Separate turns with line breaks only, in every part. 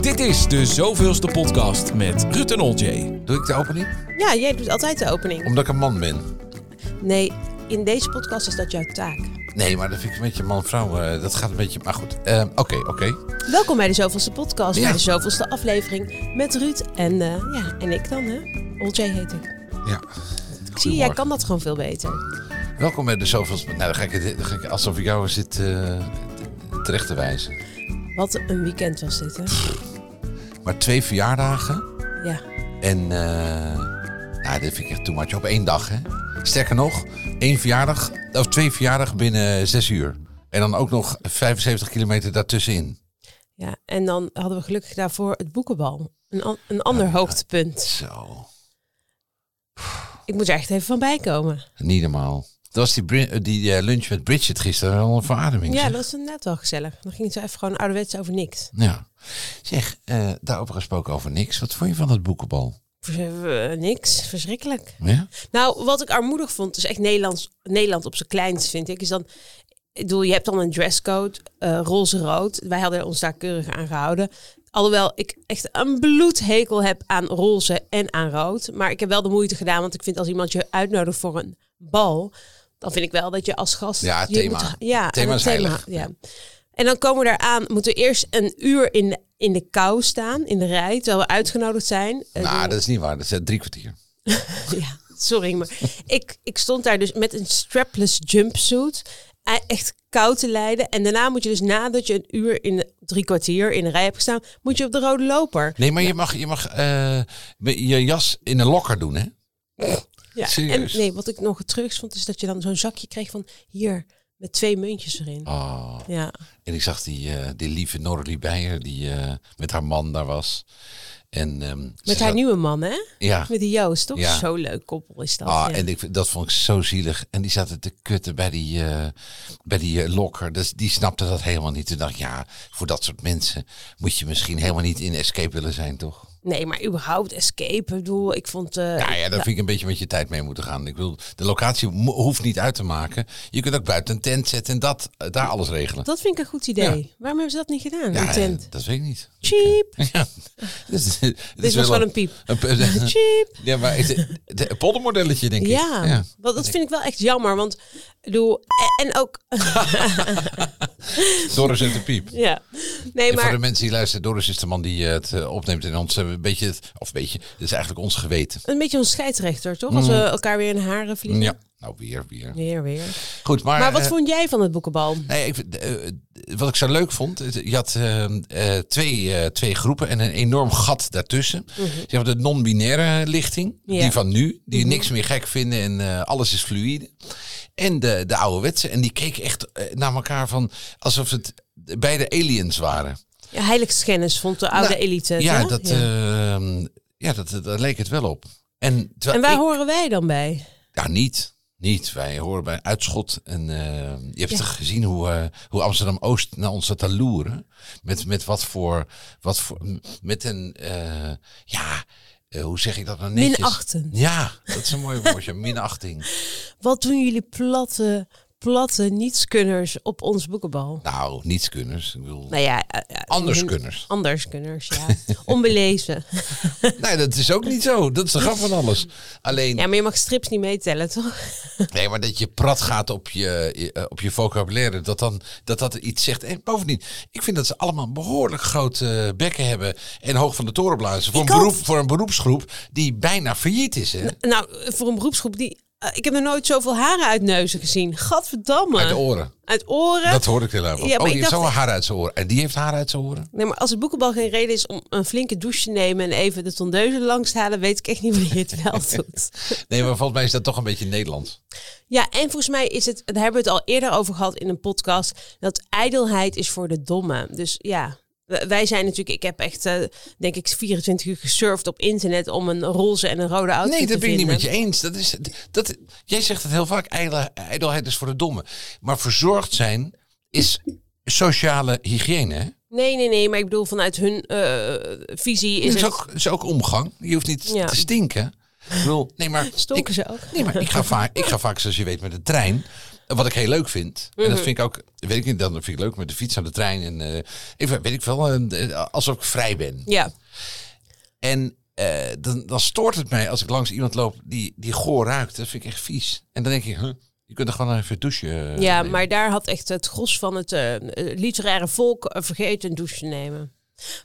Dit is de zoveelste podcast met Ruud en Oljay.
Doe ik de opening?
Ja, jij doet altijd de opening.
Omdat ik een man ben.
Nee, in deze podcast is dat jouw taak.
Nee, maar dat vind ik een beetje man-vrouw. eh, dat gaat een beetje... Maar goed, eh, oké, oké.
Welkom bij de zoveelste podcast,
Ja.
bij de zoveelste aflevering met Ruud en, eh, ja, en ik dan, hè? Oljay heet ik.
Ja.
Ik zie, jij kan dat gewoon veel beter.
Welkom bij de zoveelste... Nou, dan ga ik, het- dan ga ik alsof ik jou zit eh, t- terecht te wijzen.
Wat een weekend was dit, hè?
Maar twee verjaardagen
Ja.
en... eh, nou, dit vind ik echt too much. Op één dag, hè? Sterker nog, één verjaardag... Of twee verjaardagen binnen zes uur. En dan ook nog 75 kilometer daartussenin.
ja. En dan hadden we gelukkig daarvoor het boekenbal. Een, an- een ander hoogtepunt.
Zo.
Ik moet er echt even van bijkomen.
Niet normaal. Dat was die, Bri- eh, die eh, lunch met Bridget gisteren. Wel een verademing.
Ja,
zeg.
dat was net wel gezellig. Dan ging het zo even gewoon ouderwets over niks.
Ja. Zeg, eh, daarover gesproken over niks. Wat vond je van dat boekenbal?
Vers- eh, niks, verschrikkelijk.
Ja?
Nou, wat ik armoedig vond, is echt Nederlands, Nederland op zijn kleinst, vind ik. Is dan, ik bedoel, je hebt dan een dresscode, eh, roze-rood. Wij hadden ons daar keurig aan gehouden. Alhoewel ik echt een bloedhekel heb aan roze en aan rood. Maar ik heb wel de moeite gedaan, want ik vind als iemand je uitnodigt voor een bal, dan vind ik wel dat je als gast.
Ja, het
je
thema.
ja,
Het thema
en
is heilig.
Ja. En dan komen we daar aan, moeten we eerst een uur in de, in de kou staan, in de rij, terwijl we uitgenodigd zijn. Eh,
Nou, dat is niet waar. Dat is eh, drie kwartier.
ja, sorry, maar ik, ik stond daar dus met een strapless jumpsuit. eh, Echt koud te lijden. En daarna moet je dus nadat je een uur in de- drie kwartier in de rij hebt gestaan, moet je op de rode loper.
Nee, maar je mag je, mag, eh, je jas in een lokker doen, hè?
Ja. En
Serieus?
nee, wat ik nog het terugst vond, is dat je dan zo'n zakje kreeg van hier met twee muntjes erin.
Oh.
Ja.
En ik zag die, eh, die lieve Norrie Beijer, die eh, met haar man daar was. En, ehm, ze
Met haar
zat-
nieuwe man, hè?
Ja.
Met die Joost, toch?
Ja.
Zo'n leuk koppel is dat.
Ah,
ja.
en ik, vind- dat vond ik zo zielig. En die zaten te kutten bij die, eh, bij die eh, lokker. Dus die snapte dat helemaal niet. Toen dacht ik, ja, voor dat soort mensen moet je misschien helemaal niet in escape willen zijn, toch?
Nee, maar überhaupt escape. Ik bedoel, ik vond... eh,
Nou ja, daar vind ik een beetje met je tijd mee moeten gaan. Ik bedoel, de locatie mo- hoeft niet uit te maken. Je kunt ook buiten een tent zetten en dat, eh, daar alles regelen.
Dat vind ik een goed idee. Waarom hebben ze dat niet gedaan?
ja,
een
eh,
tent.
dat weet ik niet.
Cheap.
Ja, dus, het
Dit
is
was wel een piep.
een-
Cheap.
Ja, maar het, het- het poldermodelletje, denk
Ja,
ik.
want dat vind ik wel echt jammer. Want ik bedoel, en- en ook.
Doris en de piep.
ja. Nee,
En voor
maar
de mensen die luisteren, Doris is de man die eh, het eh, opneemt in ons eh, een beetje, het- of een beetje, het is eigenlijk ons geweten.
een beetje een scheidsrechter, toch? Als we elkaar weer in de haren vliegen.
Mm. Ja, nou weer, weer.
Weer, weer.
Goed, maar...
Maar wat
eh,
vond jij van het boekenbal?
Nee, ik, vind, eh, eh, wat ik zo leuk vond, eh, je had eh, eh, twee, eh, twee groepen en een enorm gat daartussen. Je had de non-binaire lichting,
Ja.
die van nu, die niks meer gek vinden en eh, alles is fluïde. En de, de ouderwetse, en die keken echt eh, naar elkaar van alsof het beide aliens waren.
Ja, heiligschennis vond de oude
Nou,
elite. het,
Ja,
hè?
dat,
Ja.
ehm, ja dat, dat- daar leek het wel op. En, terwijl
en waar
ik-
horen wij dan bij?
Ja, niet. Niet. Wij horen bij Uitschot. En eh, je hebt toch gezien hoe, eh, hoe Amsterdam-Oost naar ons zat te loeren. Met, met wat voor... Wat voor m- met een... eh, ja, eh, hoe zeg ik dat nou netjes?
Minachtend.
Ja, dat is een mooi woordje. Minachting.
Wat doen jullie platte, platte nietskunners op ons boekenbal?
Nou, nietskunners. Ik bedoel...
Nou ja, eh, eh,
Anderskunners.
hun- Anderskunners, ja. Onbelezen.
Nee, dat is ook niet zo. Dat is de grap van alles. Alleen...
Ja, maar je mag strips niet meetellen, toch?
Nee, maar dat je prat gaat op je, je- eh, op je vocabulaire, dat, dan, dat dat iets zegt. En bovendien, ik vind dat ze allemaal behoorlijk grote bekken hebben en hoog van de toren blazen. Voor, een,
Ik
beroep,
ook.
voor een beroepsgroep die bijna failliet is. Hè?
Nou, voor een beroepsgroep die. eh, ik heb nog nooit zoveel haren uit neuzen gezien. Gadverdamme.
Uit de oren.
Uit oren.
Dat hoorde ik heel erg.
Ja,
van.
maar
oh, die
ik
heeft
dacht-
zo'n haar uit zijn oren. En die heeft haar uit zijn oren.
Nee, maar als het boekenbal geen reden is om een flinke douche te nemen en even de tondeuzen langs te halen, weet ik echt niet wanneer je het wel doet.
Nee, maar volgens mij is dat toch een beetje Nederlands.
Ja, en volgens mij is het, daar hebben we het al eerder over gehad in een podcast, dat ijdelheid is voor de domme. Dus ja, w- wij zijn natuurlijk, ik heb echt, eh, denk ik, 24 uur gesurfd op internet om een roze en een rode auto te
Nee, dat ben ik
vinden.
niet met je eens. Dat is, dat, jij zegt het heel vaak, ijdel- ijdelheid is voor de domme. Maar verzorgd zijn is sociale hygiëne. Hè?
Nee, nee, nee, maar ik bedoel, vanuit hun eh, visie is
Het is,
het...
ook, is ook omgang. Je hoeft niet
Ja.
te stinken. Ik bedoel, nee, maar
Stonken
ik,
ze ook?
Nee, maar ik ga vaak, ik ga vaak zoals je weet, met de trein. En Wat ik heel leuk vind, en
Mhm.
dat vind ik ook, weet ik niet, dan vind ik leuk met de fiets aan de trein en eh, even, weet ik veel, eh, alsof ik vrij ben.
Ja.
En eh, dan, dan stoort het mij als ik langs iemand loop die, die goor ruikt. Dat vind ik echt vies. En dan denk ik, huh, je kunt er gewoon even douchen. eh,
ja,
nemen.
maar daar had echt het gros van het eh, eh, literaire volk eh, vergeten een douche te nemen.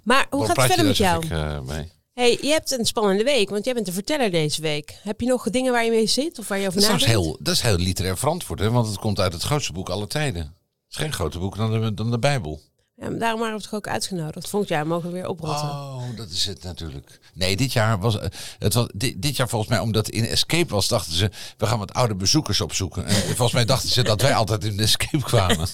Maar
Waarom
hoe gaat het
praat
verder met
je daar
jou?
zo gek, eh, mee?
Hey, je hebt een spannende week, want jij bent de verteller deze week. Heb je nog dingen waar je mee zit of waar je over
Dat is,
nadenkt?
trouwens heel, dat is heel literair verantwoord, hè? want het komt uit het grootste boek aller tijden. Het is geen groter boek dan de, dan de Bijbel.
Ja, maar daarom waren we toch ook uitgenodigd. Volgend jaar mogen we weer oprotten.
Oh, dat is het natuurlijk. Nee, dit jaar was eh, het was, dit, dit jaar volgens mij, omdat in Escape was, dachten ze, we gaan wat oude bezoekers opzoeken. En volgens mij dachten ze dat wij altijd in de Escape kwamen.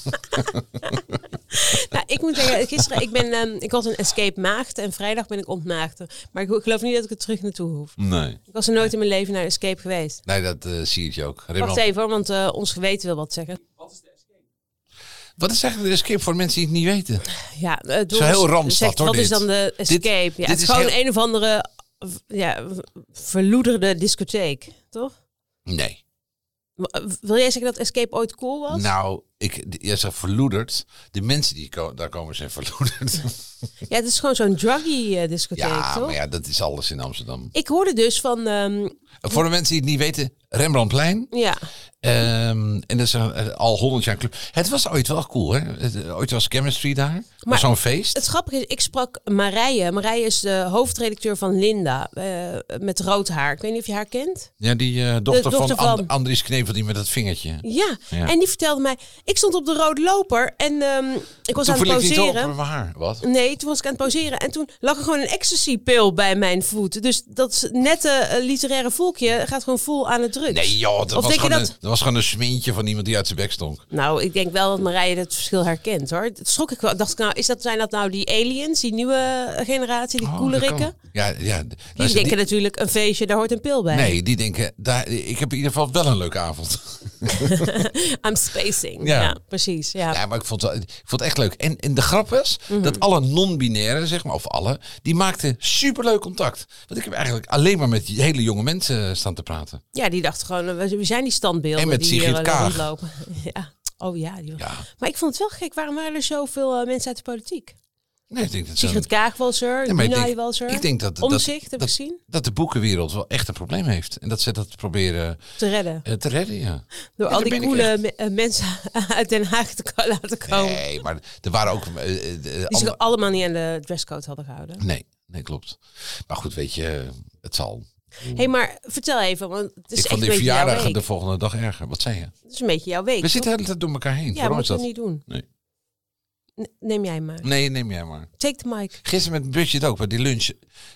Nou, ik moet zeggen, gisteren, ik, ben, ehm, ik was een escape maagd en vrijdag ben ik ontmaagder. Maar ik ho- geloof niet dat ik er terug naartoe hoef.
Nee.
Ik was er nooit in mijn leven naar een escape geweest.
Nee, dat eh, zie ik je ook.
Wacht
Raymond,
even, hoor, want eh, ons geweten wil wat zeggen.
Wat is eigenlijk de escape voor mensen die het niet weten?
Ja, eh, Doris
is heel rampzat,
zegt,
hoor,
Wat is
dit.
dan de escape? ja,
dit
het is
is
gewoon
heel-
een of andere eh, v- ja, v- verloederde discotheek, toch?
Nee.
W- Wil jij zeggen dat escape ooit cool was?
Nou, ik, jij zegt verloederd. De mensen die ko- daar komen zijn verloederd.
Ja, het is gewoon zo'n druggy eh, discotheek,
ja,
toch?
maar ja, dat is alles in Amsterdam.
Ik hoorde dus van, ehm,
Voor de mensen die het niet weten, Rembrandtplein.
ja,
Ehm, en dat is een, eh, al honderd jaar club. Het was ooit wel cool, hè? Het, eh, Ooit was chemistry daar.
Maar
was zo'n feest.
het grappige is, ik sprak Marije. Marije is de hoofdredacteur van Linda, eh, met rood haar. Ik weet niet of je haar kent.
Ja, die eh, dochter,
de dochter
van, And-
van-
Andries Knevel, die met dat vingertje.
Ja.
Ja.
en die vertelde mij, ik stond op de rode loper en ehm, ik was
Toen
aan het
viel ik niet op
poseren.
met mijn haar. Wat?
Nee, toen was ik aan het poseren en toen lag er gewoon een ecstasy-pil bij mijn voet. Dus dat nette eh, literaire volkje gaat gewoon vol aan het drugs.
Nee joh, dat was,
Of denk je
gewoon
dat-
Een, dat was gewoon een smintje van iemand die uit zijn bek stonk.
Nou, ik denk wel dat Marije het verschil herkent hoor. Dat schrok ik wel. Dacht ik nou, is dat, zijn dat nou die aliens, die nieuwe generatie, die
Oh, dat
koelerikken?
kan. Ja, ja. d-
Die
luister,
denken natuurlijk, een feestje, daar hoort een pil bij.
Nee, die denken, daar, ik heb in ieder geval wel een leuke avond.
I'm spacing. Ja,
Ja.
precies. Ja. Mhm.
Ja, maar ik vond, het wel- ik vond het echt leuk. En, en de grap was dat alle non-binairen, zeg maar, of alle, die maakten superleuk contact. Want ik heb eigenlijk alleen maar met die hele jonge mensen staan te praten.
ja, die dachten gewoon, eh, we we zijn die standbeelden
En met
die
Sigrid
hier eh,
Kaag.
rondlopen. ja. Oh ja, die was-
Ja,
Maar ik vond het wel gek, waarom waren er zoveel eh, mensen uit de politiek?
nee, ik denk dat ze-
Sigrid Kaag was er,
Ja, maar ik
Dunay
denk-
was er.
ik denk dat, dat,
Omzicht, heb ik
dat,
gezien.
dat de boekenwereld wel echt een probleem heeft. En dat ze dat proberen
Te redden.
eh, te redden, ja.
Door
Ja, daar
al die
ben ik
coole me- eh, mensen uit Den Haag te ko- laten komen.
Nee, maar er waren ook... eh, eh, eh,
Oh. Die zich
andere-
allemaal niet aan de dresscode hadden gehouden.
Nee, nee, klopt. Maar goed, weet je, het zal.
Hé, hey, maar vertel even, want het
Mm. ik
is echt
vond
een
die
beetje jouw
verjaardag
week.
de volgende dag erger. Wat zei je?
Het is een beetje jouw week.
We
toch?
zitten de hele tijd door elkaar heen.
Ja,
Waarom is
moet je
dat?
niet doen.
Nee.
N- Neem jij hem maar.
Nee, neem jij maar.
Take the mic.
Gisteren met Budget ook, bij die lunch.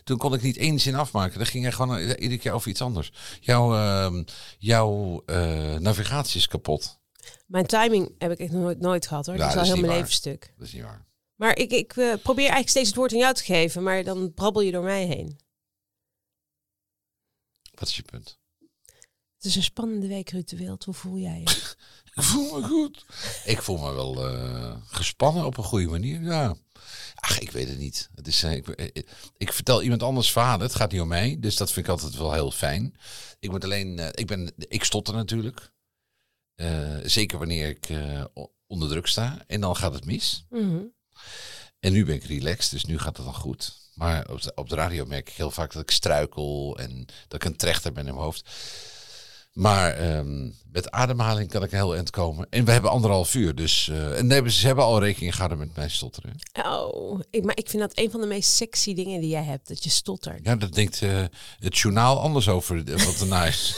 Toen kon ik niet één zin afmaken. Dan ging hij gewoon i- iedere keer over iets anders. Jouw, ehm, jouw eh, navigatie is kapot.
Mijn timing heb ik echt nog nooit, nooit gehad hoor.
Ja,
dat is al
dat is
heel
niet
mijn
waar.
leven stuk.
Dat is niet waar.
Maar ik, ik eh, probeer eigenlijk steeds het woord aan jou te geven, maar dan brabbel je door mij heen.
Wat is je punt?
Het is een spannende week, Ruud de Wild. Hoe voel jij je?
Ik voel me goed. Ik voel me wel eh, gespannen op een goede manier. Ja. Ach, ik weet het niet. Het is, eh, ik, eh, ik vertel iemand anders verhalen. Het gaat niet om mij. Dus dat vind ik altijd wel heel fijn. Ik moet alleen. eh, ik, ben, ik stotter natuurlijk. Eh, zeker wanneer ik eh, o- onder druk sta. En dan gaat het mis.
Mhm.
En nu ben ik relaxed. Dus nu gaat het dan goed. Maar op de, op de radio merk ik heel vaak dat ik struikel. En dat ik een trechter ben in mijn hoofd. Maar ehm, met ademhaling kan ik een heel eind komen. En we hebben anderhalf uur. Dus, eh, en hebben, ze hebben al rekening gehouden met mijn stotteren.
Oh, ik, maar ik vind dat een van de meest sexy dingen die jij hebt. Dat je stottert.
Ja, dat denkt eh, het journaal anders over eh, wat erna is.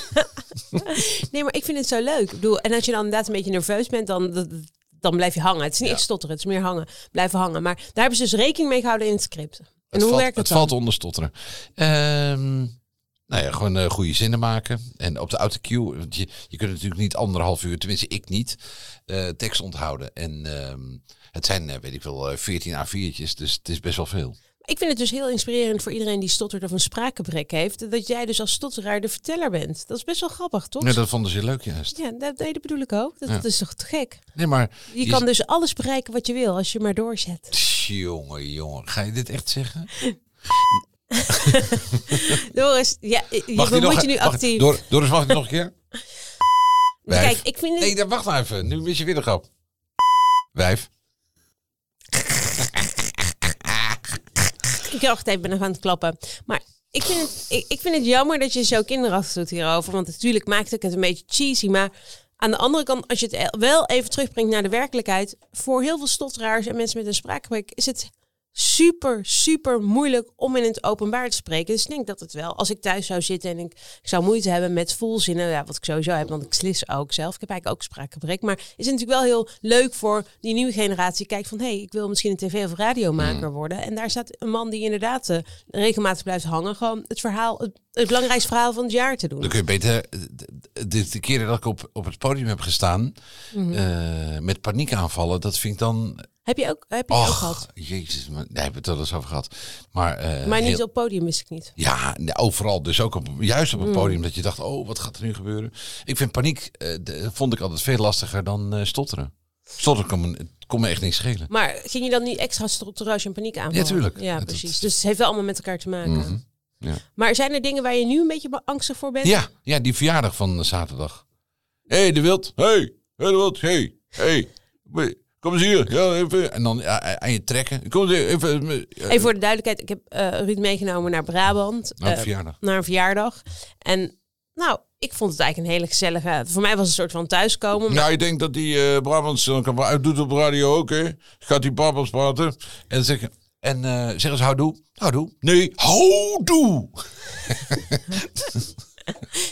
Nee, maar ik vind het zo leuk. Ik bedoel, en als je dan inderdaad een beetje nerveus bent, dan, dat- dan blijf je hangen. Het is niet
Ja.
echt stotteren, het is meer hangen. Blijven hangen. Maar daar hebben ze dus rekening mee gehouden in het script. En
het
hoe
valt,
werkt dat
het valt onder stotteren. Ehm, nou ja, gewoon eh, goede zinnen maken. En op de autocue, want je, je kunt natuurlijk niet anderhalf uur, tenminste ik niet, eh, tekst onthouden. En ehm, het zijn, eh, weet ik wel, eh, 14 A4'tjes, dus het is best wel veel.
Ik vind het dus heel inspirerend voor iedereen die stottert of een spraakgebrek heeft. Dat jij dus als stotteraar de verteller bent. Dat is best wel grappig, toch?
Ja, dat vonden ze leuk juist.
Ja, dat, nee, dat bedoel ik ook. Dat,
Ja.
dat is toch te gek?
Nee, maar...
Je, kan dus alles bereiken wat je wil als je maar doorzet.
Jongen, jongen, ga je dit echt zeggen?
Doris, ja, je
die
bemoeit
nog-
je nu
mag-
actief.
Dor- Doris, mag ik nog een keer? Wijf.
Kijk, ik vind het...
Nee, dan wacht maar even. Nu mis je weer de grap. Wijf.
Ik dacht even, ben nog aan het klappen. Maar ik vind, het, ik, ik vind het jammer dat je zo kinderachtig doet hierover. Want natuurlijk maakt het het een beetje cheesy. Maar aan de andere kant, als je het e- wel even terugbrengt naar de werkelijkheid. Voor heel veel stotteraars en mensen met een spraakgebrek is het super, super moeilijk om in het openbaar te spreken. Dus ik denk dat het wel, als ik thuis zou zitten en ik, ik zou moeite hebben met volzinnen, ja, wat ik sowieso heb, want ik slis ook zelf. Ik heb eigenlijk ook spraakgebrek. Maar is het natuurlijk wel heel leuk voor die nieuwe generatie. Kijkt van, hé, hey, ik wil misschien een tv- of radiomaker
Mm.
worden. En daar staat een man die inderdaad eh, regelmatig blijft hangen. Gewoon het verhaal, het, het belangrijkste verhaal van het jaar te
Dan
doen.
kun je beter... eh, De, de, de keren dat ik op, op het podium heb gestaan... eh, met paniekaanvallen, dat vind ik dan...
Mhm. Heb je ook, heb je ook gehad?
Och, jezus. man, Daar hebben we het wel eens over gehad. Maar, eh,
Maar
heel-
niet op podium wist ik niet.
Ja, nee, overal. Dus ook op, juist op
Mhm.
het podium dat je dacht, oh, wat gaat er nu gebeuren? Ik vind paniek, eh, de- vond ik altijd veel lastiger dan eh, stotteren. Stotteren kon me, kon me echt niks schelen.
Maar ging je dan niet extra structureus en paniek aanvallen?
Ja, tuurlijk.
Ja,
Dat-
precies. Dus het heeft wel allemaal met elkaar te maken.
Mhm. Ja.
Maar zijn er dingen waar je nu een beetje ba- angstig voor bent?
Ja, ja, die verjaardag van eh, zaterdag. Hé, hey, de wild. Hé, hey, hey, de wild. Hé, hey, hey. Kom eens hier. Ja, even. En dan ja, aan je trekken. Kom eens hier, even. eh,
Even voor de duidelijkheid, ik heb eh, Ruud meegenomen naar Brabant.
Nou,
eh,
verjaardag.
naar een verjaardag. En nou, ik vond het eigenlijk een hele gezellige... Voor mij was het een soort van thuiskomen. Maar
Nou, ik denk dat die eh Brabants dan kan hij doet op de radio ook, hè? Gaat die Brabants praten en dan zeggen en eh zeggen ze houdoe, houdoe. Nee, houdoe.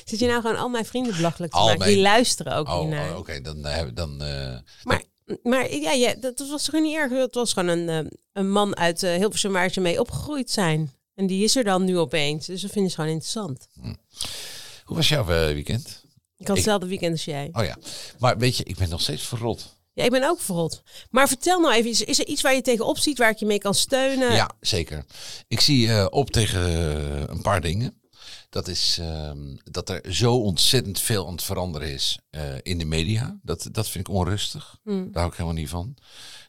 zit je nou gewoon al mijn vrienden belachelijk te
Al
maken?
mijn-
Die luisteren ook
Oh, oh,
hiernaar.
oké, dan eh, dan. eh,
Maar, maar ja, ja, dat dat was gewoon niet erg. Het was gewoon een, eh, een man uit eh, Hilversum waar ze mee opgegroeid zijn. En die is er dan nu opeens. Dus dat vinden ze gewoon interessant.
hoe was jouw eh, weekend?
Ik had hetzelfde weekend als jij.
Oh ja, maar weet je, ik ben nog steeds verrot.
Ja, ik ben ook verrot. Maar vertel nou even, is, is er iets waar je tegenop ziet, waar ik je mee kan steunen?
Ja, zeker. Ik zie eh, op tegen eh, een paar dingen. Dat is ehm, dat er zo ontzettend veel aan het veranderen is eh, in de media. Dat, dat vind ik onrustig. Daar hou ik helemaal niet van.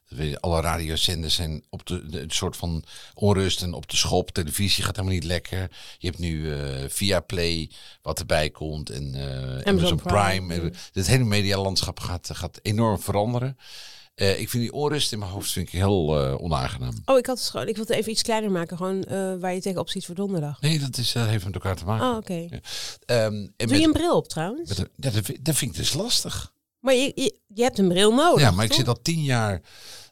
Dat weet je, Alle radiozenders zijn op de, de- een soort van onrust en op de schop. Televisie gaat helemaal niet lekker. Je hebt nu eh via Play wat erbij komt en eh, Amazon Prime.
Prime.
En Het hele medialandschap gaat, gaat enorm veranderen. Eh, ik vind die onrust in mijn hoofd vind ik heel eh, onaangenaam.
Oh, ik had het gewoon. Ik wilde even iets kleiner maken, gewoon eh, waar je tegenop ziet voor donderdag.
Nee, dat, is, dat heeft met elkaar te maken.
Oh, oké.
Ja. Ehm, en met,
Doe je een bril op trouwens?
met- ja, dat, vind- dat vind ik dus lastig.
Maar je, je, je hebt een bril nodig.
ja, maar ik
Oh, toch?
zit al tien jaar.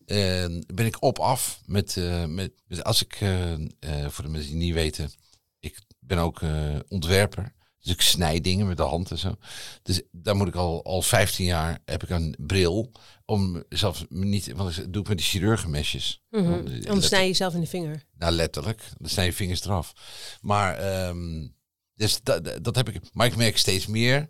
ehm, ben ik op af met, eh, met, met- Als ik. eh, eh, voor de mensen die het niet weten. Ik ben ook eh, ontwerper. Dus ik snij dingen met de hand en zo. Dus daar moet ik al, al 15 jaar. heb ik een bril. Om zelfs niet. Want dat doe ik met de chirurgenmesjes.
Mhm.
Want, eh,
Dan snij je jezelf in de vinger.
Nou, letterlijk. Dan snij je vingers eraf. Maar ehm, dus dat, dat- dat heb ik. Maar ik merk steeds meer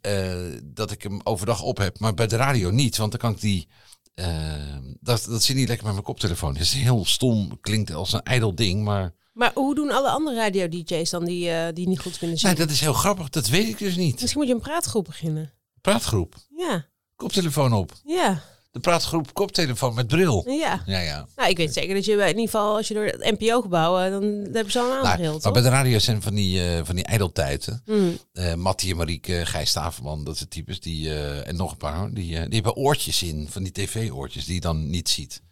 eh, dat ik hem overdag op heb. Maar bij de radio niet, want dan kan ik die. ehm, dat, dat zit niet lekker met mijn koptelefoon. Het is heel stom, klinkt als een ijdel ding, maar.
Maar hoe doen alle andere radio-dj's dan die, eh, die niet goed kunnen zien?
Nee, dat is heel grappig, dat weet ik dus niet.
Misschien moet je een praatgroep beginnen.
Praatgroep,
Ja,
koptelefoon op.
ja,
De praatgroep, koptelefoon met bril.
ja.
Ja, ja.
Nou, ik weet zeker dat je bij- in ieder geval, als je door het NPO-gebouw, eh, dan hebben ze al een
Nou,
aanbril,
maar
toch?
bij de radio zijn van die, eh, van die ijdeltijden.
Hmm.
eh Mattie en Marieke, Gijs Staverman, dat zijn types die, eh, en nog een paar, hoor, die, eh, die hebben oortjes in, van die tv-oortjes, die je dan niet ziet.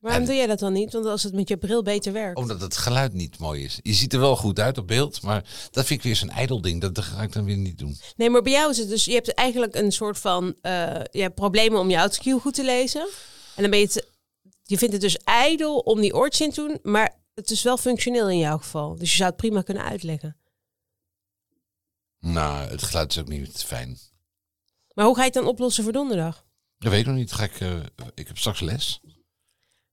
Waarom
En-
doe jij dat dan niet? Want als het met je bril beter werkt.
Omdat het geluid niet mooi is. Je ziet er wel goed uit op beeld, maar dat vind ik weer zo'n ijdel ding, dat, dat ga ik dan weer niet doen.
Nee, maar bij jou is het dus, je hebt eigenlijk een soort van eh, je hebt problemen om je autocue goed te lezen. En dan ben je het, je vindt het dus ijdel om die oortjes in te doen, maar het is wel functioneel in jouw geval. Dus je zou het prima kunnen uitleggen.
Nou, het geluid is ook niet fijn.
Maar hoe ga je het dan oplossen voor donderdag?
Dat weet ik nog niet, ga ik, eh, ik heb straks les.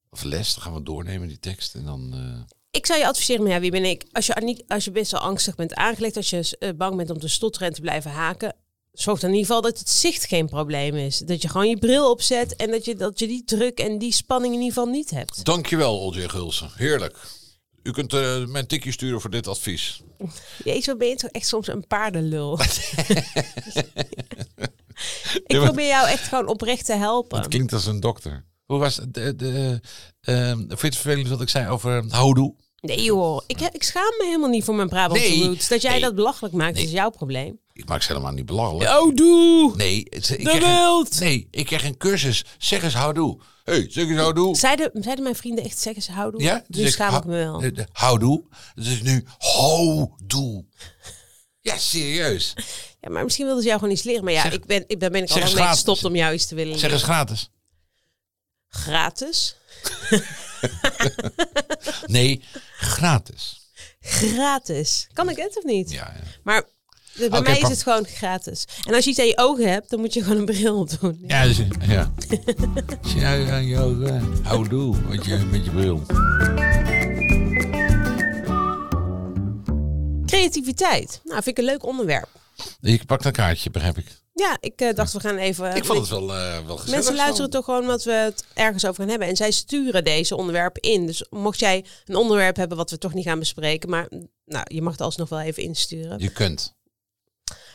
Of les, dan gaan we doornemen die tekst en dan... eh,
Ik zou je adviseren, maar ja, wie ben ik? Als je, niet, als je best wel angstig bent aangelegd, als je eh, bang bent om te stotteren en te blijven haken, zorg dan in ieder geval dat het zicht geen probleem is. Dat je gewoon je bril opzet en dat je, dat je die druk en die spanning in ieder geval niet hebt.
Dankjewel, Olje Gulsen. Heerlijk. U kunt eh, mij een tikje sturen voor dit advies.
Jezus, wat ben je toch echt soms een paardenlul.
Ja,
ik
maar-
probeer jou echt gewoon oprecht te
Het
helpen.
klinkt als een dokter. Hoe was het? De, de, ehm, vind je het vervelend wat ik zei over houdoe?
Nee joh, ik, ik schaam me helemaal niet voor mijn Brabantse
Nee,
roots. Dat jij
nee.
dat belachelijk maakt,
Nee.
is jouw probleem.
Ik maak ze helemaal niet belachelijk.
Oh, doe!
Nee, het- ik
de
krijg een-
wild!
nee, ik krijg een cursus. Zeg eens houdoe. hey, zeg eens houdoe.
Zeiden, zeiden mijn vrienden echt, zeggen ze houdoe?
Ja?
nu
Dus
schaam
hou-
ik me wel.
eh, de- Houdoe. Het is nu houdoe. Ja, serieus.
Ja, maar misschien wilden ze jou gewoon iets leren. Maar ja,
Zeg-
ik ben, ik, daar ben ik al
zeg
lang
eens
mee
gratis.
gestopt om jou iets te willen
Zeg eens gratis.
Gratis?
Nee, gratis.
Gratis. Kan ik het of niet?
Ja, ja.
Maar bij
Oké,
mij is
pak-
het gewoon gratis. En als je iets aan je ogen hebt, dan moet je gewoon een bril op doen.
Ja, dus, ja. ja, ja, ja, ja. Houdoe met je, met je bril.
Creativiteit. Nou, vind ik een leuk onderwerp.
Ik pak dat kaartje, begrijp ik.
Ja, ik eh, dacht we gaan even...
Ik vond het wel, eh, wel gezellig.
Mensen luisteren toch gewoon wat we het ergens over gaan hebben. En zij sturen deze onderwerpen in. Dus mocht jij een onderwerp hebben wat we toch niet gaan bespreken, maar nou, je mag het alsnog wel even insturen.
Je kunt.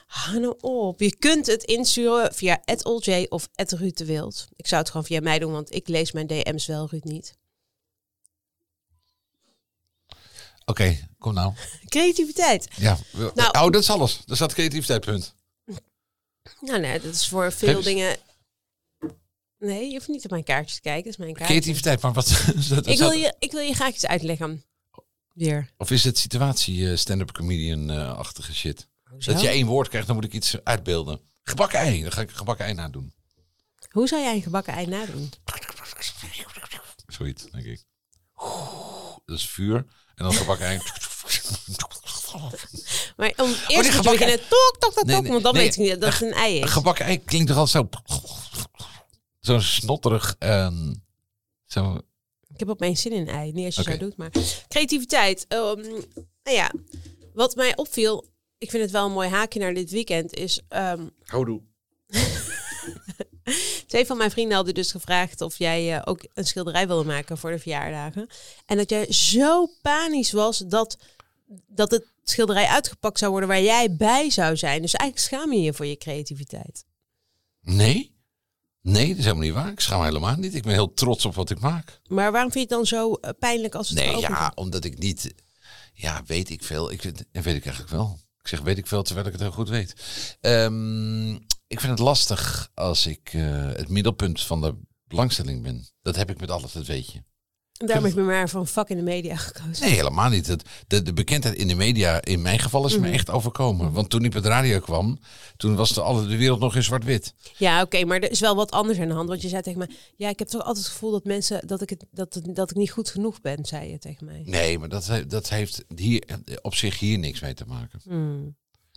Hou nou op. Je kunt het insturen via @oljay of Ruud de Wild. Ik zou het gewoon via mij doen, want ik lees mijn DM's wel, Ruud niet.
Oké, kom nou.
Creativiteit.
Ja. we-
Nou-
oh, dat is alles. Dat staat creativiteitpunt.
Nou nee, dat is voor veel
Geef-
dingen... Nee, je hoeft niet op mijn kaartje te kijken. Dat is mijn kaartje.
Creativiteit, maar wat... dat-
Ik wil,
dat-
je, ik wil je graag iets uitleggen. Weer.
Of is het situatie eh, stand-up comedian-achtige shit?
Hoezo?
Dat je één woord krijgt, dan moet ik iets uitbeelden. Gebakken ei, dan ga ik een gebakken ei nadoen.
Hoe zou jij een gebakken ei nadoen?
Zoiets, denk ik. Dat is vuur. En dan gebakken ei.
Maar om eerst
Oh, die
moet je
gebakken
beginnen, tok, tok, tok,
Nee,
tok,
nee,
want dan
nee.
weet ik niet dat het een ei
Een
is.
gebakken ei klinkt toch altijd zo... Zo'n snotterig... ehm, zo,
Ik heb opeens zin in een ei, niet als je
Oké.
zo doet, maar... Creativiteit. ehm, nou ja, wat mij opviel, ik vind het wel een mooi haakje naar dit weekend, is... ehm,
Houdoe.
twee van mijn vrienden hadden dus gevraagd of jij eh, ook een schilderij wilde maken voor de verjaardagen. En dat jij zo panisch was dat, dat het schilderij uitgepakt zou worden waar jij bij zou zijn. Dus eigenlijk schaam je je voor je creativiteit.
Nee. Nee, dat is helemaal niet waar. Ik schaam me helemaal niet. Ik ben heel trots op wat ik maak.
Maar waarom vind je het dan zo eh, pijnlijk als het
Nee,
geopend
ja, omdat ik niet... Ja, weet ik veel. Ik vind, en weet ik eigenlijk wel. Ik zeg weet ik veel, terwijl ik het heel goed weet. Ehm, ik vind het lastig als ik eh, het middelpunt van de belangstelling ben. Dat heb ik met alles, dat weet je.
Daarom heb ik me maar van vak in de media gekozen.
Nee, helemaal niet. Het- de, de bekendheid in de media, in mijn geval, is me echt overkomen. Want toen ik met radio kwam, toen was de, alle, de wereld nog in zwart-wit.
Ja, oké, maar er is wel wat anders aan de hand. Want je zei tegen mij, ja, ik heb toch altijd het gevoel dat mensen dat ik het dat, het- dat ik niet goed genoeg ben, zei je tegen mij.
Nee, maar dat, he- dat heeft hier, op zich hier niks mee te maken.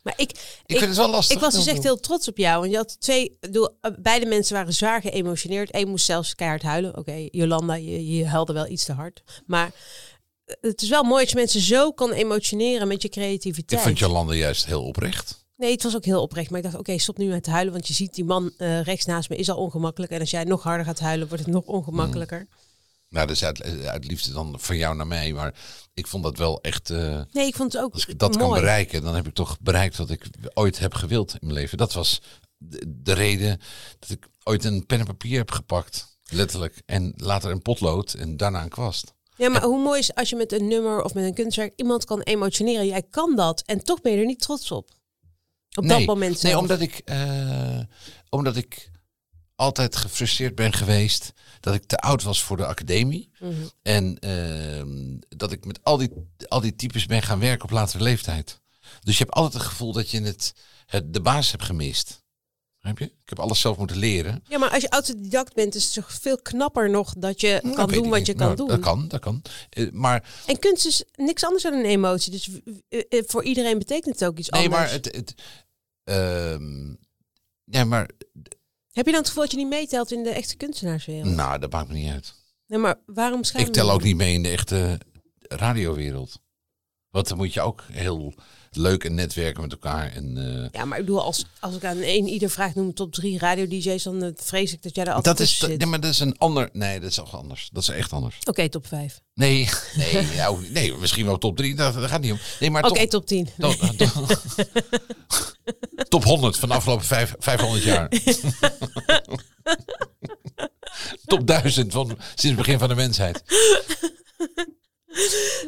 Maar ik,
Ik,
ik,
vind het wel lastig.
ik was dus echt heel trots op jou. Want je had twee, ik bedoel, eh, beide mensen waren zwaar geëmotioneerd. Eén moest zelfs keihard huilen. Oké, Jolanda, je, je huilde wel iets te hard. Maar eh, het is wel mooi dat je mensen zo kan emotioneren met je
Ik
creativiteit.
vond Jolanda juist heel oprecht.
Nee, het was ook heel oprecht. Maar ik dacht, oké, stop nu met te huilen. Want je ziet, die man eh, rechts naast me is al ongemakkelijk. En als jij nog harder gaat huilen, wordt het nog ongemakkelijker.
Nou, dat is uit, uit liefde dan van jou naar mij. Maar ik vond dat wel echt. eh,
Nee, ik vond het ook
als ik dat
mooi.
kan bereiken, dan heb ik toch bereikt wat ik ooit heb gewild in mijn leven. Dat was de, de reden dat ik ooit een pen en papier heb gepakt. Letterlijk. En later een potlood en daarna een kwast.
Ja, maar hoe mooi is als je met een nummer of met een kunstwerk iemand kan emotioneren. Jij kan dat. En toch ben je er niet trots op. Op dat moment
Nee,
zelf.
omdat ik, eh, omdat ik altijd gefrustreerd ben geweest dat ik te oud was voor de academie.
Mhm.
En ehm, dat ik met al die, al die types ben gaan werken op latere leeftijd. Dus je hebt altijd het gevoel dat je het, het, de baas hebt gemist. Heb je? Ik heb alles zelf moeten leren.
Ja, maar als je autodidact bent, is het toch veel knapper nog dat je
Nou,
kan
weet
doen
ik
wat
niet.
je kan
Nou,
doen.
Dat kan, dat kan. Eh, maar
En kunst is niks anders dan een emotie. Dus w- w- eh, eh, voor iedereen betekent het ook iets
nee,
anders.
maar het. het ehm, nee, maar.
Heb je dan het gevoel dat je niet meetelt in de echte kunstenaarswereld?
Nou, dat maakt me niet uit.
Nee, maar waarom schaam je
Ik tel
je?
ook niet mee in de echte radiowereld. Want dan moet je ook heel leuk en netwerken met elkaar. En, eh,
Ja, maar ik bedoel, als, als ik aan een ieder vraag noem top drie radio-dj's, dan eh, vrees ik dat jij daar altijd
dat is,
tussen zit.
nee, maar dat is een ander. Nee, dat is toch anders. Dat is echt anders.
Oké, top vijf.
Nee, nee, ja, ook- nee misschien wel top 3. Dat, dat gaat niet om. Nee, maar
Oké,
top,
top tien.
top, top, top 100 van de afgelopen vijf, 500 jaar. top 1000 van, sinds het begin van de mensheid.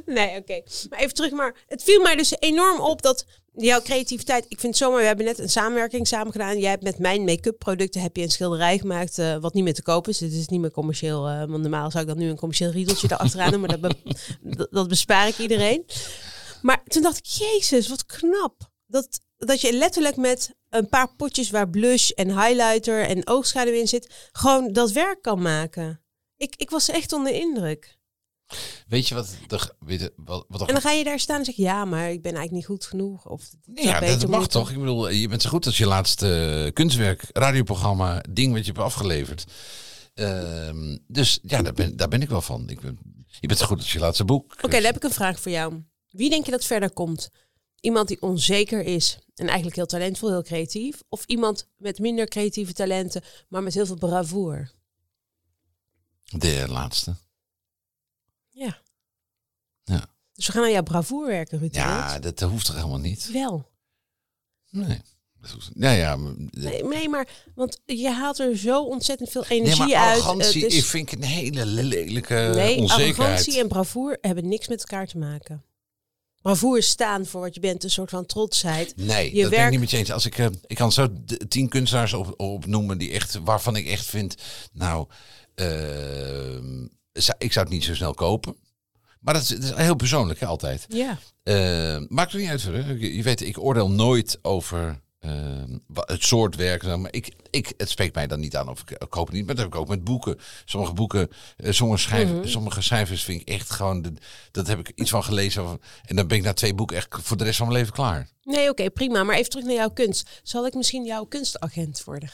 Nee, oké. Maar even terug, maar het viel mij dus enorm op dat jouw creativiteit... Ik vind het zomaar, we hebben net een samenwerking samen gedaan. Jij hebt met mijn make-up producten heb je een schilderij gemaakt eh, wat niet meer te koop is. Dit is niet meer commercieel, eh, want normaal zou ik dan nu een commercieel riedeltje erachteraan doen. Maar dat, be- dat- dat bespaar ik iedereen. Maar toen dacht ik, jezus, wat knap. Dat, dat je letterlijk met een paar potjes waar blush en highlighter en oogschaduw in zit... gewoon dat werk kan maken. Ik, ik was echt onder de indruk.
Weet je wat de, weet je wat, wat de-
En dan ga je daar staan en zeg je, ja, maar ik ben eigenlijk niet goed genoeg. Of
Nee, ja, dat mag toch? Ik bedoel, je bent zo goed als je laatste eh, kunstwerk, radioprogramma, ding wat je hebt afgeleverd. Ehm, dus ja, daar ben, daar ben ik wel van. Ik ben, je bent zo goed als je laatste boek.
Oké, dan heb ik een vraag voor jou. Wie denk je dat verder komt? Iemand die onzeker is en eigenlijk heel talentvol, heel creatief? Of iemand met minder creatieve talenten, maar met heel veel bravoer?
De laatste.
Ja.
Ja.
Dus we gaan aan jouw bravoer werken, Ruud. de
Ja,
Wild.
dat hoeft toch helemaal niet?
Wel.
Nee. Dat hoeft- Nou ja, m- de-
Nee, nee, maar want je haalt er zo ontzettend veel
nee,
energie
maar
uit.
arrogantie
Het is-
ik vind ik een hele lelijke
nee,
onzekerheid.
arrogantie en bravoer hebben niks met elkaar te maken. Bravoer is staan voor wat je bent, een soort van trotsheid.
Nee,
Je
dat ben ik
werk-
niet met je eens. Als ik, eh, ik kan zo d- tien kunstenaars op, opnoemen die echt, waarvan ik echt vind, nou, ehm, zou- ik zou het niet zo snel kopen. Maar dat is, dat is heel persoonlijk, hè, altijd.
Ja.
Eh, maakt er niet uit. verder. Je, je weet, ik oordeel nooit over ehm, wa- het soort werk. zeg Maar ik, ik, het spreekt mij dan niet aan of ik, ik koop het niet. Maar dat heb ik ook met boeken. Sommige boeken, eh, sommige, schrijf,
Mhm.
sommige schrijvers vind ik echt gewoon... de- dat heb ik iets van gelezen. over- en dan ben ik na twee boeken echt voor de rest van mijn leven klaar.
Nee, oké, prima. Maar even terug naar jouw kunst. Zal ik misschien jouw kunstagent worden?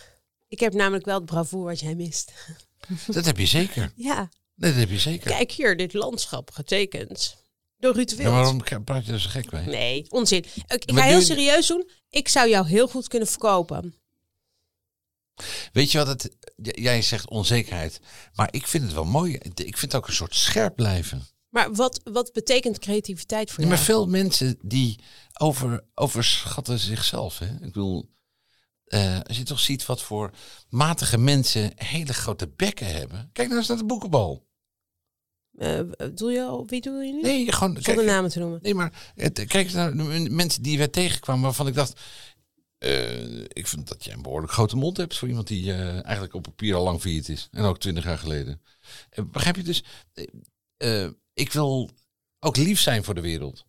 Ik heb namelijk wel het bravoer wat jij mist.
Dat heb je zeker.
Ja.
Nee, dat heb je zeker.
Kijk hier, dit landschap getekend. Door Ruud de
Ja,
Wild.
waarom k- praat je er zo gek mee?
Nee, onzin. Ik, ik
Maar
ga heel
nu-
serieus doen. Ik zou jou heel goed kunnen verkopen.
Weet je wat het... j- Jij zegt onzekerheid. Maar ik vind het wel mooi. Ik vind het ook een soort scherp blijven.
Maar wat, wat betekent creativiteit voor
Ja, maar
jou?
veel mensen die over, overschatten zichzelf. Hè? Ik bedoel, eh, als je toch ziet wat voor matige mensen hele grote bekken hebben. Kijk nou eens naar de boekenbal.
Eh, doe je, al- wie doe je nu?
Nee, gewoon...
Zonder
kijk-
namen te noemen.
Nee, maar het, kijk eens naar de men- mensen die wij tegenkwamen waarvan ik dacht... eh, ik vind dat jij een behoorlijk grote mond hebt voor iemand die eh, eigenlijk op papier al lang failliet is. En ook twintig jaar geleden. Eh, begrijp je dus? Eh, eh, ik wil ook lief zijn voor de wereld.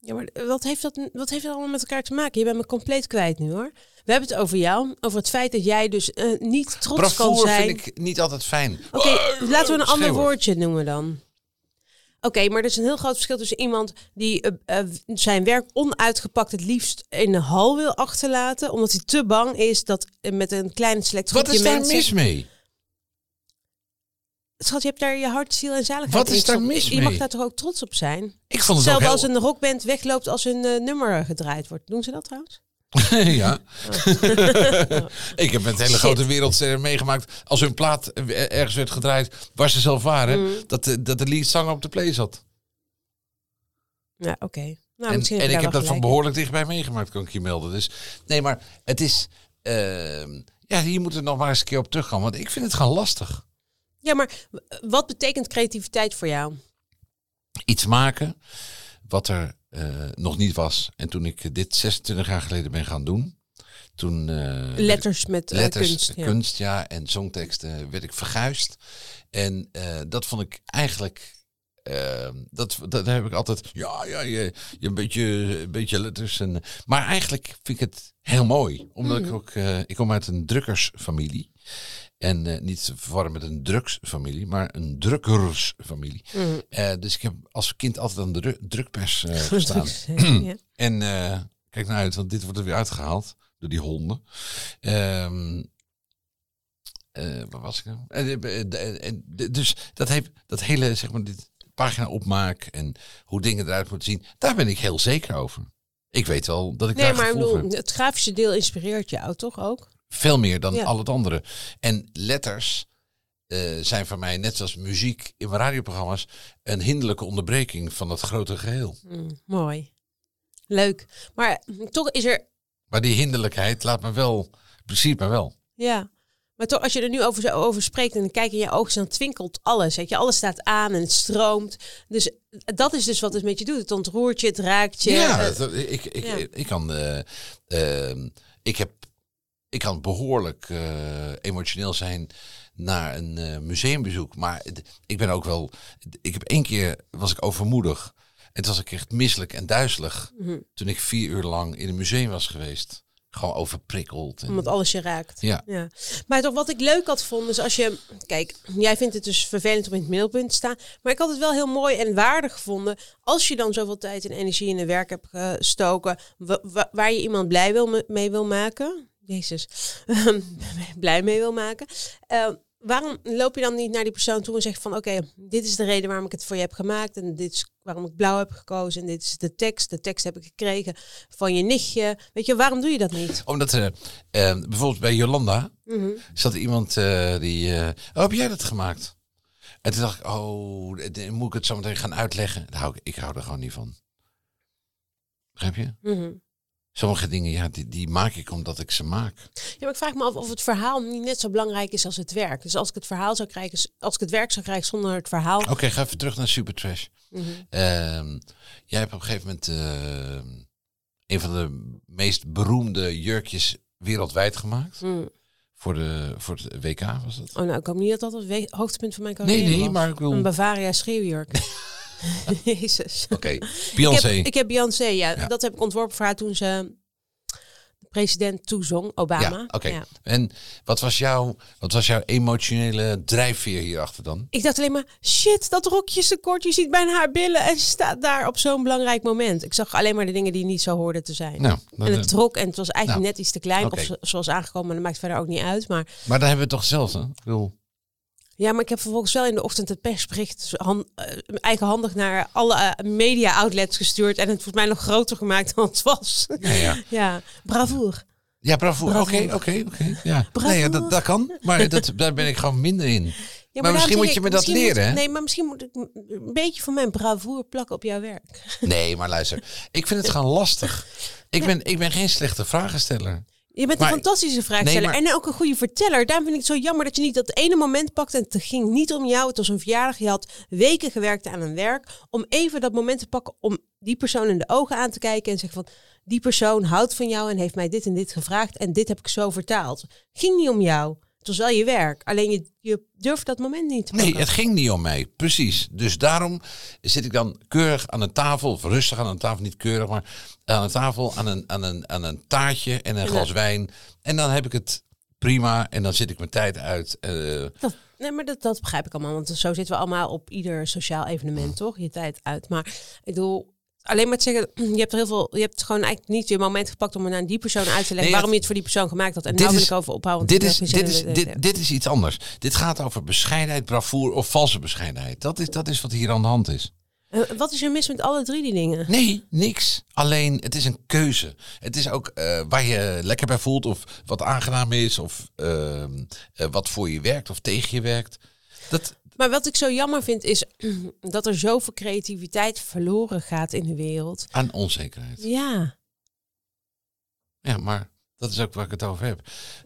Ja, maar wat heeft, dat, wat heeft dat allemaal met elkaar te maken? Je bent me compleet kwijt nu hoor. We hebben het over jou, over het feit dat jij dus eh, niet trots kan
Bravoer
zijn.
vind ik niet altijd fijn.
Oké, laten we een ander
Schreeuwen.
woordje noemen dan. Oké, maar er is een heel groot verschil tussen iemand die eh, eh, zijn werk onuitgepakt het liefst in de hal wil achterlaten, omdat hij te bang is dat eh, met een klein select
Wat
groepje
is daar
mensen...
mis mee?
Schat, je hebt daar je hart, ziel en zaligheid
Wat
in
is daar
gestopt.
mis
Je mag
mee?
daar toch ook trots op zijn?
Ik vond het ook
Zelfs
heel...
als een rockband wegloopt als hun eh, nummer gedraaid wordt. Doen ze dat trouwens?
ja. ik heb met hele
Shit.
grote wereld eh, meegemaakt. Als hun plaat eh, ergens werd gedraaid waar ze zelf waren,
Mm.
dat, de, dat de leadzanger op de play zat.
Ja, oké. Nou,
en
misschien
en
je
ik heb
daar wel
dat van
gelijk
behoorlijk dichtbij meegemaakt, kan ik je melden. Dus nee, maar het is. ehm, ja, hier moeten we nog maar eens een keer op teruggaan. Want ik vind het gewoon lastig.
in. Ja, maar w- wat betekent creativiteit voor jou?
Iets maken wat er eh, nog niet was. En toen ik dit 26 jaar geleden ben gaan doen, toen. eh, werd
Letters met eh,
letters,
kunst. ja.
en zongteksten werd ik verguisd. En eh, dat vond ik eigenlijk. eh, dat, dat heb ik altijd. Ja, ja, je, je een, beetje, een beetje letters. En, maar eigenlijk vind ik het heel mooi. Omdat
Mm.
ik ook. eh, ik kom uit een drukkersfamilie. En eh, niet te verwarren met een drugsfamilie, maar een drukkersfamilie.
Mm.
Eh, dus ik heb als kind altijd aan de dru- drukpers eh, gestaan.
ja.
En eh, kijk nou uit, want dit wordt er weer uitgehaald door die honden. Ehm eh, waar was ik nou? Eh, eh, eh, eh, eh, Dus dat, heeft, dat hele, zeg maar, dit pagina opmaak en hoe dingen eruit moeten zien, daar ben ik heel zeker over. Ik weet wel dat ik
Nee,
daar
maar ik
gevoel voor heb.
bedoel, het grafische deel inspireert jou toch ook?
Veel meer dan
Ja.
al het andere. En letters eh, zijn voor mij, net zoals muziek in mijn radioprogramma's, een hinderlijke onderbreking van dat grote geheel.
Mooi. Leuk. Maar mm, toch is er,
Maar die hinderlijkheid laat me wel, pleziert me wel.
ja. Maar toch, als je er nu over, zo over spreekt en dan kijk je in je ogen, dan twinkelt alles. Weet je, alles staat aan en het stroomt. Dus dat is dus wat het met je doet. Het ontroert je, het raakt je.
Ja,
Eh,
dat- ik, ik,
ja.
ik kan. eh, ehm, ik heb. Ik kan behoorlijk eh, emotioneel zijn naar een eh, museumbezoek. Maar d- ik ben ook wel. d- Ik heb één keer was ik overmoedig. En toen was ik echt misselijk en duizelig.
Mhm.
Toen ik vier uur lang in een museum was geweest. Gewoon overprikkeld. En,
omdat alles je raakt.
ja.
Ja. Maar toch wat ik leuk had vonden is als je... Kijk, jij vindt het dus vervelend om in het middelpunt te staan. Maar ik had het wel heel mooi en waardig gevonden... als je dan zoveel tijd en energie in het werk hebt gestoken... wa- wa- waar je iemand blij wil me- mee wil maken... Jezus, blij mee wil maken... eh, Waarom loop je dan niet naar die persoon toe en zeg van oké, dit is de reden waarom ik het voor je heb gemaakt en dit is waarom ik blauw heb gekozen en dit is de tekst, de tekst heb ik gekregen van je nichtje. Weet je, waarom doe je dat niet?
Omdat eh, eh, bijvoorbeeld bij Jolanda
Mhm.
zat er iemand eh, die. eh, oh, heb jij dat gemaakt? En toen dacht ik, oh, d- d- moet ik het zo meteen gaan uitleggen? Daar hou ik, ik hou er gewoon niet van. Begrijp je?
Mhm.
Sommige dingen, ja, die, die maak ik omdat ik ze maak.
Ja, maar ik vraag me af of het verhaal niet net zo belangrijk is als het werk. Dus als ik het verhaal zou krijgen, als ik het werk zou krijgen zonder het verhaal.
Oké, ga even terug naar Supertrash.
Mhm.
Ehm, jij hebt op een gegeven moment ehm, een van de meest beroemde jurkjes wereldwijd gemaakt.
Mm.
Voor, de, voor het WK was dat?
Oh, nou, ik hoop niet dat dat het we- hoogtepunt van mijn carrière
Nee, nee,
was.
maar ik wil...
Een
Oké,
Bavaria schreeuwjurk. Jezus. Ik
Beyoncé.
heb, ik heb Beyoncé, ja,
Ja.
Dat heb ik ontworpen voor haar toen ze de president toezong, Obama.
Ja, oké. En wat was, jouw, wat was jouw emotionele drijfveer hierachter dan?
Ik dacht alleen maar, shit, dat rokje is te kort. Je ziet bijna haar billen en ze staat daar op zo'n belangrijk moment. Ik zag alleen maar de dingen die niet zo hoorden te zijn.
Nou,
en
dat-
het trok en het was eigenlijk net iets te klein.
oké.
Of zo- zoals aangekomen, maar dat maakt verder ook niet uit. Maar
maar daar hebben we het toch zelf, hè? Ik bedoel,
ja, maar ik heb vervolgens wel in de ochtend het persbericht zo han- eh, eigenhandig naar alle eh, media outlets gestuurd. En het volgens mij nog groter gemaakt dan het was.
ja, ja.
ja, bravoer.
ja bravo.
Bravoer.
Oké, oké, oké. Ja,
Bravoer.
Nee, ja, dat, dat kan, maar dat, daar ben ik gewoon minder in.
Ja,
Maar
daarom
misschien
zeg
moet je
ik,
me dat
misschien moet-
leren, hè?
nee, maar misschien moet ik m- een beetje van mijn bravoer plakken op jouw werk.
Nee, maar luister, ik vind het gewoon lastig. Ik ben, ik ben geen slechte vragensteller.
Je bent
Maar-
een fantastische vraagsteller
Nee, maar-
en ook een goede verteller. Daarom vind ik het zo jammer dat je niet dat ene moment pakt en het ging niet om jou. Het was een verjaardag. Je had weken gewerkt aan een werk om even dat moment te pakken om die persoon in de ogen aan te kijken en zeggen van die persoon houdt van jou en heeft mij dit en dit gevraagd en dit heb ik zo vertaald. Ging niet om jou. Het was wel je werk. Alleen je, je durft dat moment niet te pakken.
Nee, het ging niet om mij. Precies. Dus daarom zit ik dan keurig aan een tafel, of rustig aan een tafel, niet keurig, maar aan een tafel, aan een, aan een, aan een taartje en een glas wijn. En dan heb ik het prima en dan zit ik mijn tijd uit. eh,
Dat, nee, maar dat, dat begrijp ik allemaal. Want zo zitten we allemaal op ieder sociaal evenement, toch? Je tijd uit. Maar ik bedoel, alleen maar te zeggen, je hebt er heel veel. Je hebt gewoon eigenlijk niet je moment gepakt om het aan die persoon uit te leggen
Nee,
waarom
het-
je het voor die persoon gemaakt had. En
Dit
daar wil
is-
ik over ophouden. want
dit, is,
ik heb geen
dit,
zin
is,
in
dit, dit is iets anders. Dit gaat over bescheidenheid, bravoer of valse bescheidenheid. Dat is, dat is wat hier aan de hand is.
Eh, Wat is er mis met alle drie die dingen?
Nee, niks. Alleen, het is een keuze. Het is ook eh, waar je lekker bij voelt of wat aangenaam is of ehm, eh, wat voor je werkt of tegen je werkt. Dat,
Maar wat ik zo jammer vind is dat er zoveel creativiteit verloren gaat in de wereld.
aan onzekerheid.
Ja.
Ja, maar dat is ook waar ik het over heb.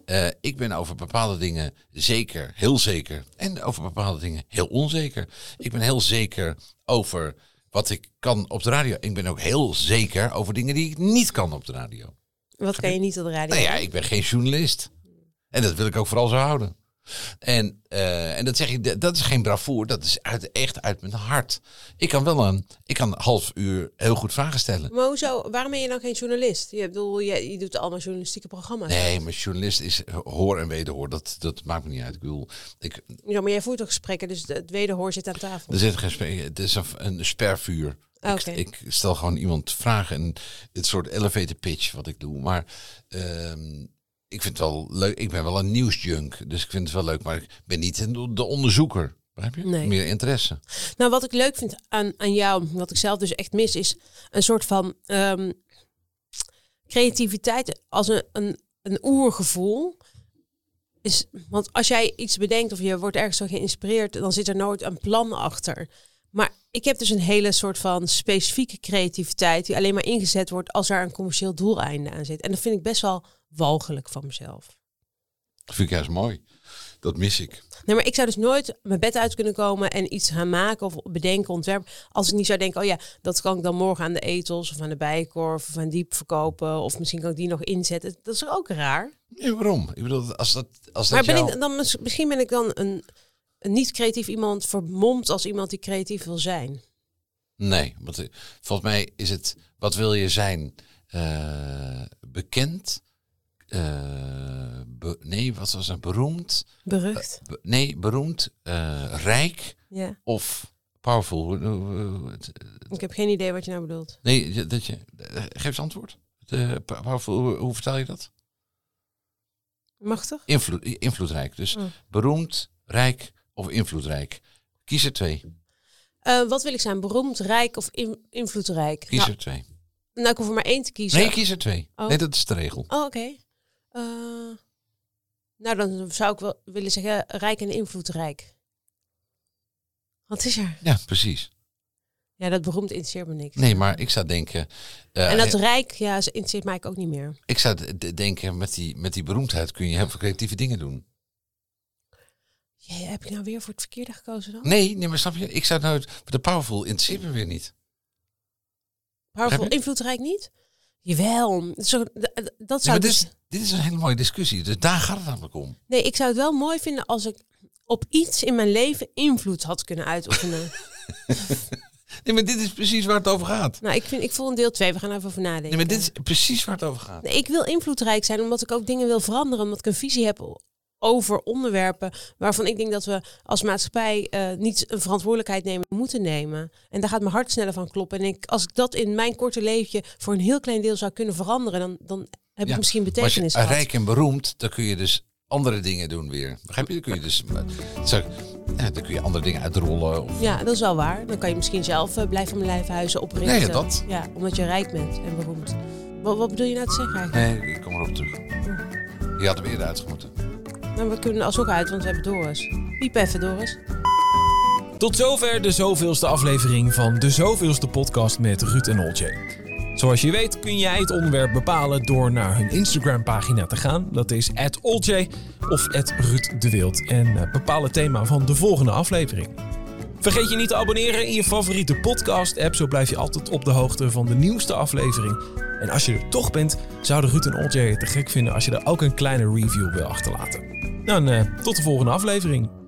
Eh, ik ben over bepaalde dingen zeker, heel zeker. En over bepaalde dingen heel onzeker. Ik ben heel zeker over wat ik kan op de radio. Ik ben ook heel zeker over dingen die ik niet kan op de radio.
Wat kan je niet op de radio?
Nou ja, ik ben geen journalist. En dat wil ik ook vooral zo houden. En, eh, en dat zeg ik, dat- dat is geen bravoer, dat is uit, echt uit mijn hart. Ik kan wel een, ik kan een half uur heel goed vragen stellen.
Maar hoezo? Waarom ben je dan geen journalist? Je, bedoel, je, je doet allemaal journalistieke programma's.
Nee, maar journalist is hoor en wederhoor, dat, dat maakt me niet uit. Ik bedoel, ik,
Ja, maar jij voert toch gesprekken, dus de- het wederhoor zit aan tafel.
er zit geen spe- het is een, een spervuur.
Oké.
Ik, ik stel gewoon iemand vragen en het soort elevator pitch wat ik doe. Maar ehm, ik vind het wel leuk. Ik ben wel een nieuwsjunk, dus ik vind het wel leuk. Maar ik ben niet een- de onderzoeker. Begrijp je?
Nee.
Meer interesse.
Nou, wat ik leuk vind aan, aan jou, wat ik zelf dus echt mis, is een soort van ehm, creativiteit als een, een, een oergevoel. Is, want als jij iets bedenkt of je wordt ergens zo geïnspireerd, dan zit er nooit een plan achter. Maar ik heb dus een hele soort van specifieke creativiteit die alleen maar ingezet wordt als daar een commercieel doeleinde aan zit. En dat vind ik best wel walgelijk van mezelf.
Dat vind ik juist mooi. Dat mis ik.
Nee, maar ik zou dus nooit mijn bed uit kunnen komen en iets gaan maken of bedenken, ontwerpen. Als ik niet zou denken, oh ja, dat kan ik dan morgen aan de etels of aan de bijkorf of aan diep verkopen. Of misschien kan ik die nog inzetten. Dat is toch ook raar?
Nee, waarom? Ik bedoel, als dat, als dat
Maar ben
jou-
ik dan, mis- misschien ben ik dan een, een niet-creatief iemand vermomd als iemand die creatief wil zijn.
Nee, want eh, volgens mij is het, wat wil je zijn? Eh, bekend? Eh, be- nee, wat was het? Beroemd?
Berucht.
Be- nee, beroemd, eh, rijk
Ja,
of powerful? Hoe- hoe- hoe- het-
ik heb geen idee wat je nou bedoelt.
Nee, je- dat je, eh, geef eens antwoord. Eh, powerful, hoe, hoe vertaal je dat?
Machtig?
Invlo- invloedrijk. Dus
Oh.
beroemd, rijk of invloedrijk. Kies er twee.
Eh, wat wil ik zijn? Beroemd, rijk of in- invloedrijk?
Kies
Nou,
er twee.
nou, ik hoef er maar één te kiezen.
Nee, kies er twee.
Oh.
Nee, dat is de regel.
Oh, oké. Eh, nou, dan zou ik wel willen zeggen rijk en invloedrijk. Wat is er?
Ja, precies.
Ja, dat beroemd interesseert me niks.
Nee, maar ik zou denken. eh,
en dat rijk, ja, ze interesseert mij ook niet meer.
Ik zou d- d- denken, met die, met die beroemdheid kun je heel veel creatieve dingen doen.
Jee, heb ik nou weer voor het verkeerde gekozen dan?
Nee, nee, maar snap je? Ik zou nooit. De powerful interesseert me weer niet.
Powerful,
Heb je-
invloedrijk niet? Jawel. Zo, d- d- dat
Nee, maar
zou
dit,
dus,
is, dit is een hele mooie discussie. Dus daar gaat het namelijk om.
nee, ik zou het wel mooi vinden als ik op iets in mijn leven invloed had kunnen uitoefenen.
Nee, maar dit is precies waar het over gaat.
nou, ik, vind, ik voel een deel 2. We gaan even over nadenken.
Nee, maar dit is precies waar het over gaat.
Nee, ik wil invloedrijk zijn omdat ik ook dingen wil veranderen. Omdat ik een visie heb o- over onderwerpen waarvan ik denk dat we als maatschappij eh, niet een verantwoordelijkheid nemen, moeten nemen. En daar gaat mijn hart sneller van kloppen. En ik, als ik dat in mijn korte leefje voor een heel klein deel zou kunnen veranderen, dan, dan heb
Ja,
ik misschien
Maar als je
betekenis gehad.
rijk en beroemd, dan kun je dus andere dingen doen weer. Begrijp je? Dan kun je dus. eh, Zo, ja, dan kun je andere dingen uitrollen. Of,
Ja, dat is wel waar. Dan kan je misschien zelf eh, blijf van mijn lijf huizen oprichten.
Nee, ja, dat.
Ja, omdat je rijk bent en beroemd. Wat, wat bedoel je nou te zeggen eigenlijk?
nee, ik kom erop terug. Je had hem eerder uitgemoeten.
Nou, we kunnen er alsnog uit, want we hebben Doris. Piep even, Doris.
Tot zover de zoveelste aflevering van de zoveelste podcast met Ruud en Olje. Zoals je weet kun jij het onderwerp bepalen door naar hun Instagram pagina te gaan. Dat is @olje of @ruud de Wild en eh, bepaal het thema van de volgende aflevering. Vergeet je niet te abonneren in je favoriete podcast-app, zo blijf je altijd op de hoogte van de nieuwste aflevering. En als je er toch bent, zouden Ruud en Olje het te gek vinden als je er ook een kleine review wil achterlaten. Dan eh, tot de volgende aflevering.